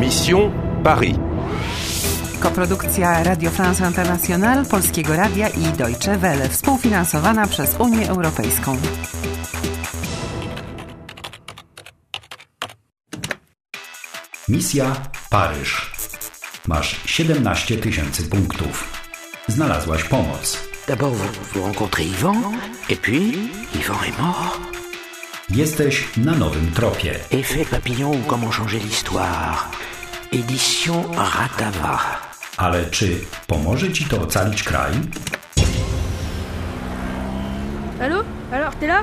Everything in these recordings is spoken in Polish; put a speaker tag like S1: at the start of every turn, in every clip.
S1: Mission Paris.
S2: Koprodukcja Radio France International, Polskiego Radia i Deutsche Welle, współfinansowana przez Unię Europejską.
S3: Misja Paryż. Masz 17 tysięcy punktów. Znalazłaś pomoc.
S4: D'abord, vous, vous rencontrez Yvan, et puis Yvan est mort.
S3: Jesteś na nowym tropie.
S4: Effet papillon ou comment changer l'histoire. Édition Ratava.
S3: Ale czy pomoże ci to ocalić kraj?
S5: Allô Alors, t'es là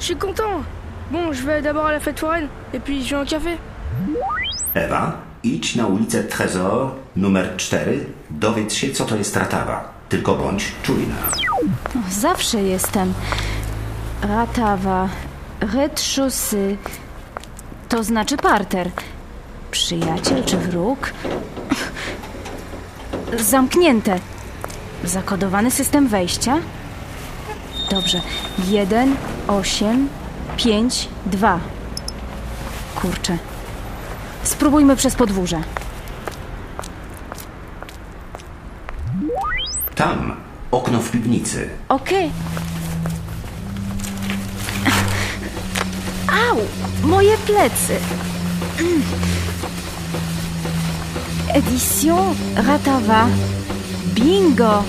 S5: Je suis content Bon, je vais d'abord à la fête foraine, et puis je vais un café.
S6: Ewa, idź na ulicę Trezor numer 4, dowiedz się, co to jest Ratawa. Tylko bądź czujna.
S7: O, Zawsze jestem. Ratawa, retrzusy, to znaczy parter. Przyjaciel czy wróg? Zamknięte. Zakodowany system wejścia? Dobrze. Jeden, osiem, pięć, dwa. Kurczę. Spróbujmy przez podwórze.
S6: Tam, okno w piwnicy.
S7: Okej. Au! Moje plecy! Edition Ratawa. Bingo!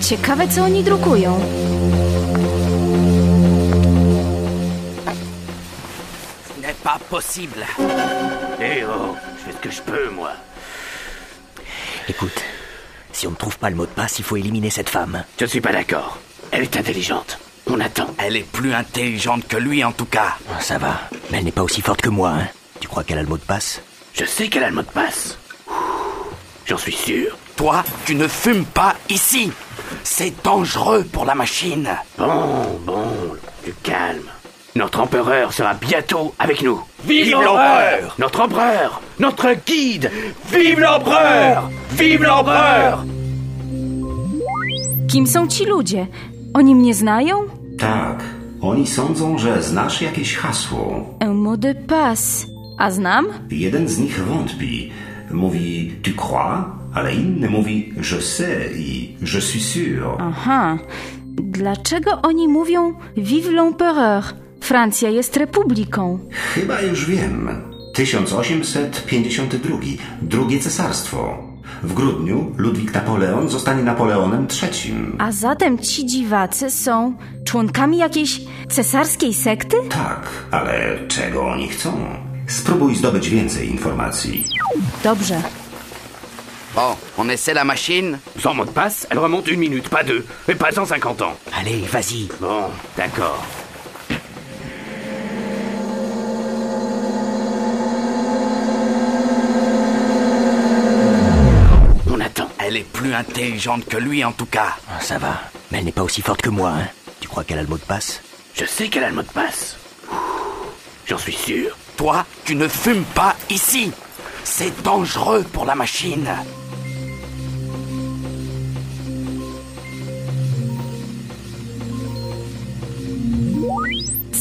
S7: Ciekawe, co oni drukują.
S4: Ce n'est pas possible.
S8: Eh oh, je fais ce que je peux, moi.
S4: Écoute, si on ne trouve pas le mot de passe, il faut éliminer cette femme.
S8: Je suis pas d'accord. Elle est intelligente. On attend.
S9: Elle est plus intelligente que lui en tout cas.
S4: Ça va. Mais elle n'est pas aussi forte que moi, hein. Tu crois qu'elle a le mot de passe
S8: Je sais qu'elle a le mot de passe. Ouh, J'en suis sûr.
S9: Toi, tu ne fumes pas ici. C'est dangereux pour la machine.
S8: Bon, bon, du calme. Notre empereur sera bientôt avec nous. Vive,
S9: l'empereur
S8: Notre empereur Notre guide Vive l'empereur Vive l'empereur
S7: Kim są ci ludzie? Oni mnie znają?
S6: Tak, oni sądzą, że znasz jakieś hasło.
S7: Un mot de passe. A znam?
S6: Jeden z nich wątpi. Mówi tu crois, ale inny mówi je sais i je suis sûr.
S7: Aha. Dlaczego oni mówią Vive l'empereur? Francja jest republiką.
S6: Chyba już wiem. 1852. Drugie cesarstwo. W grudniu Ludwik Napoleon zostanie Napoleonem III.
S7: A zatem ci dziwacy są członkami jakiejś cesarskiej sekty?
S6: Tak, ale czego oni chcą? Spróbuj zdobyć więcej informacji.
S7: Dobrze.
S9: Bon, on essaie la machine.
S8: Sans mot de passe, elle remonte une minute, pas deux, et pas 150 ans.
S4: Allez, vas-y.
S8: Bon, d'accord. On attend.
S9: Elle est plus intelligente que lui en tout cas.
S4: Ah, Ça va. Mais elle n'est pas aussi forte que moi, hein. Tu crois qu'elle a le mot de passe
S8: Je sais qu'elle a le mot de passe. Ouh, J'en suis sûr.
S9: Toi, tu ne fumes pas ici. C'est dangereux pour la machine.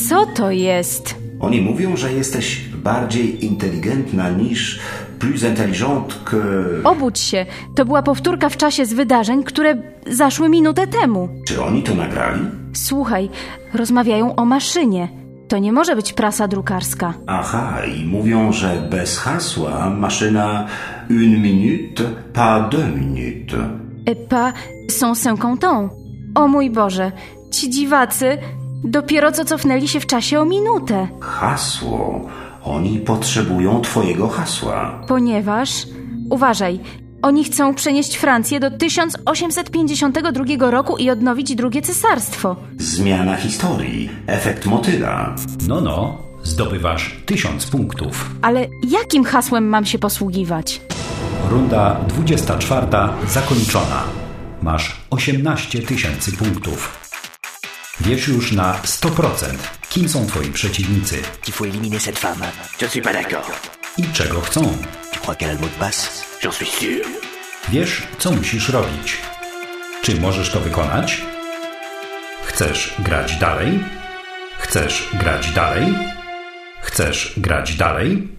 S7: Co to jest?
S6: Oni mówią, że jesteś bardziej inteligentna niż plus intelligente que...
S7: Obudź się. To była powtórka w czasie z wydarzeń, które zaszły minutę temu.
S6: Czy oni to nagrali?
S7: Słuchaj, rozmawiają o maszynie. To nie może być prasa drukarska.
S6: Aha, i mówią, że bez hasła maszyna une minute, pas deux minutes.
S7: Epa są sękątą. O mój Boże, ci dziwacy dopiero co cofnęli się w czasie o minutę,
S6: Hasło. Oni potrzebują twojego hasła.
S7: ponieważ... Uważaj, oni chcą przenieść Francję do 1852 roku i odnowić drugie cesarstwo.
S6: Zmiana historii. Efekt motyla.
S3: No, no, zdobywasz 1000 punktów.
S7: Ale jakim hasłem mam się posługiwać?
S3: Runda 24 zakończona. Masz 18 tysięcy punktów. Wiesz już na 100% kim są twoi przeciwnicy
S4: Il faut éliminer cette femme.
S8: Je suis pas d'accord.
S3: i czego chcą.
S4: Tu crois qu'elle a le mot de passe
S8: J'en suis sûr.
S3: Wiesz, co musisz robić. Czy możesz to wykonać? Chcesz grać dalej? Chcesz grać dalej? Chcesz grać dalej?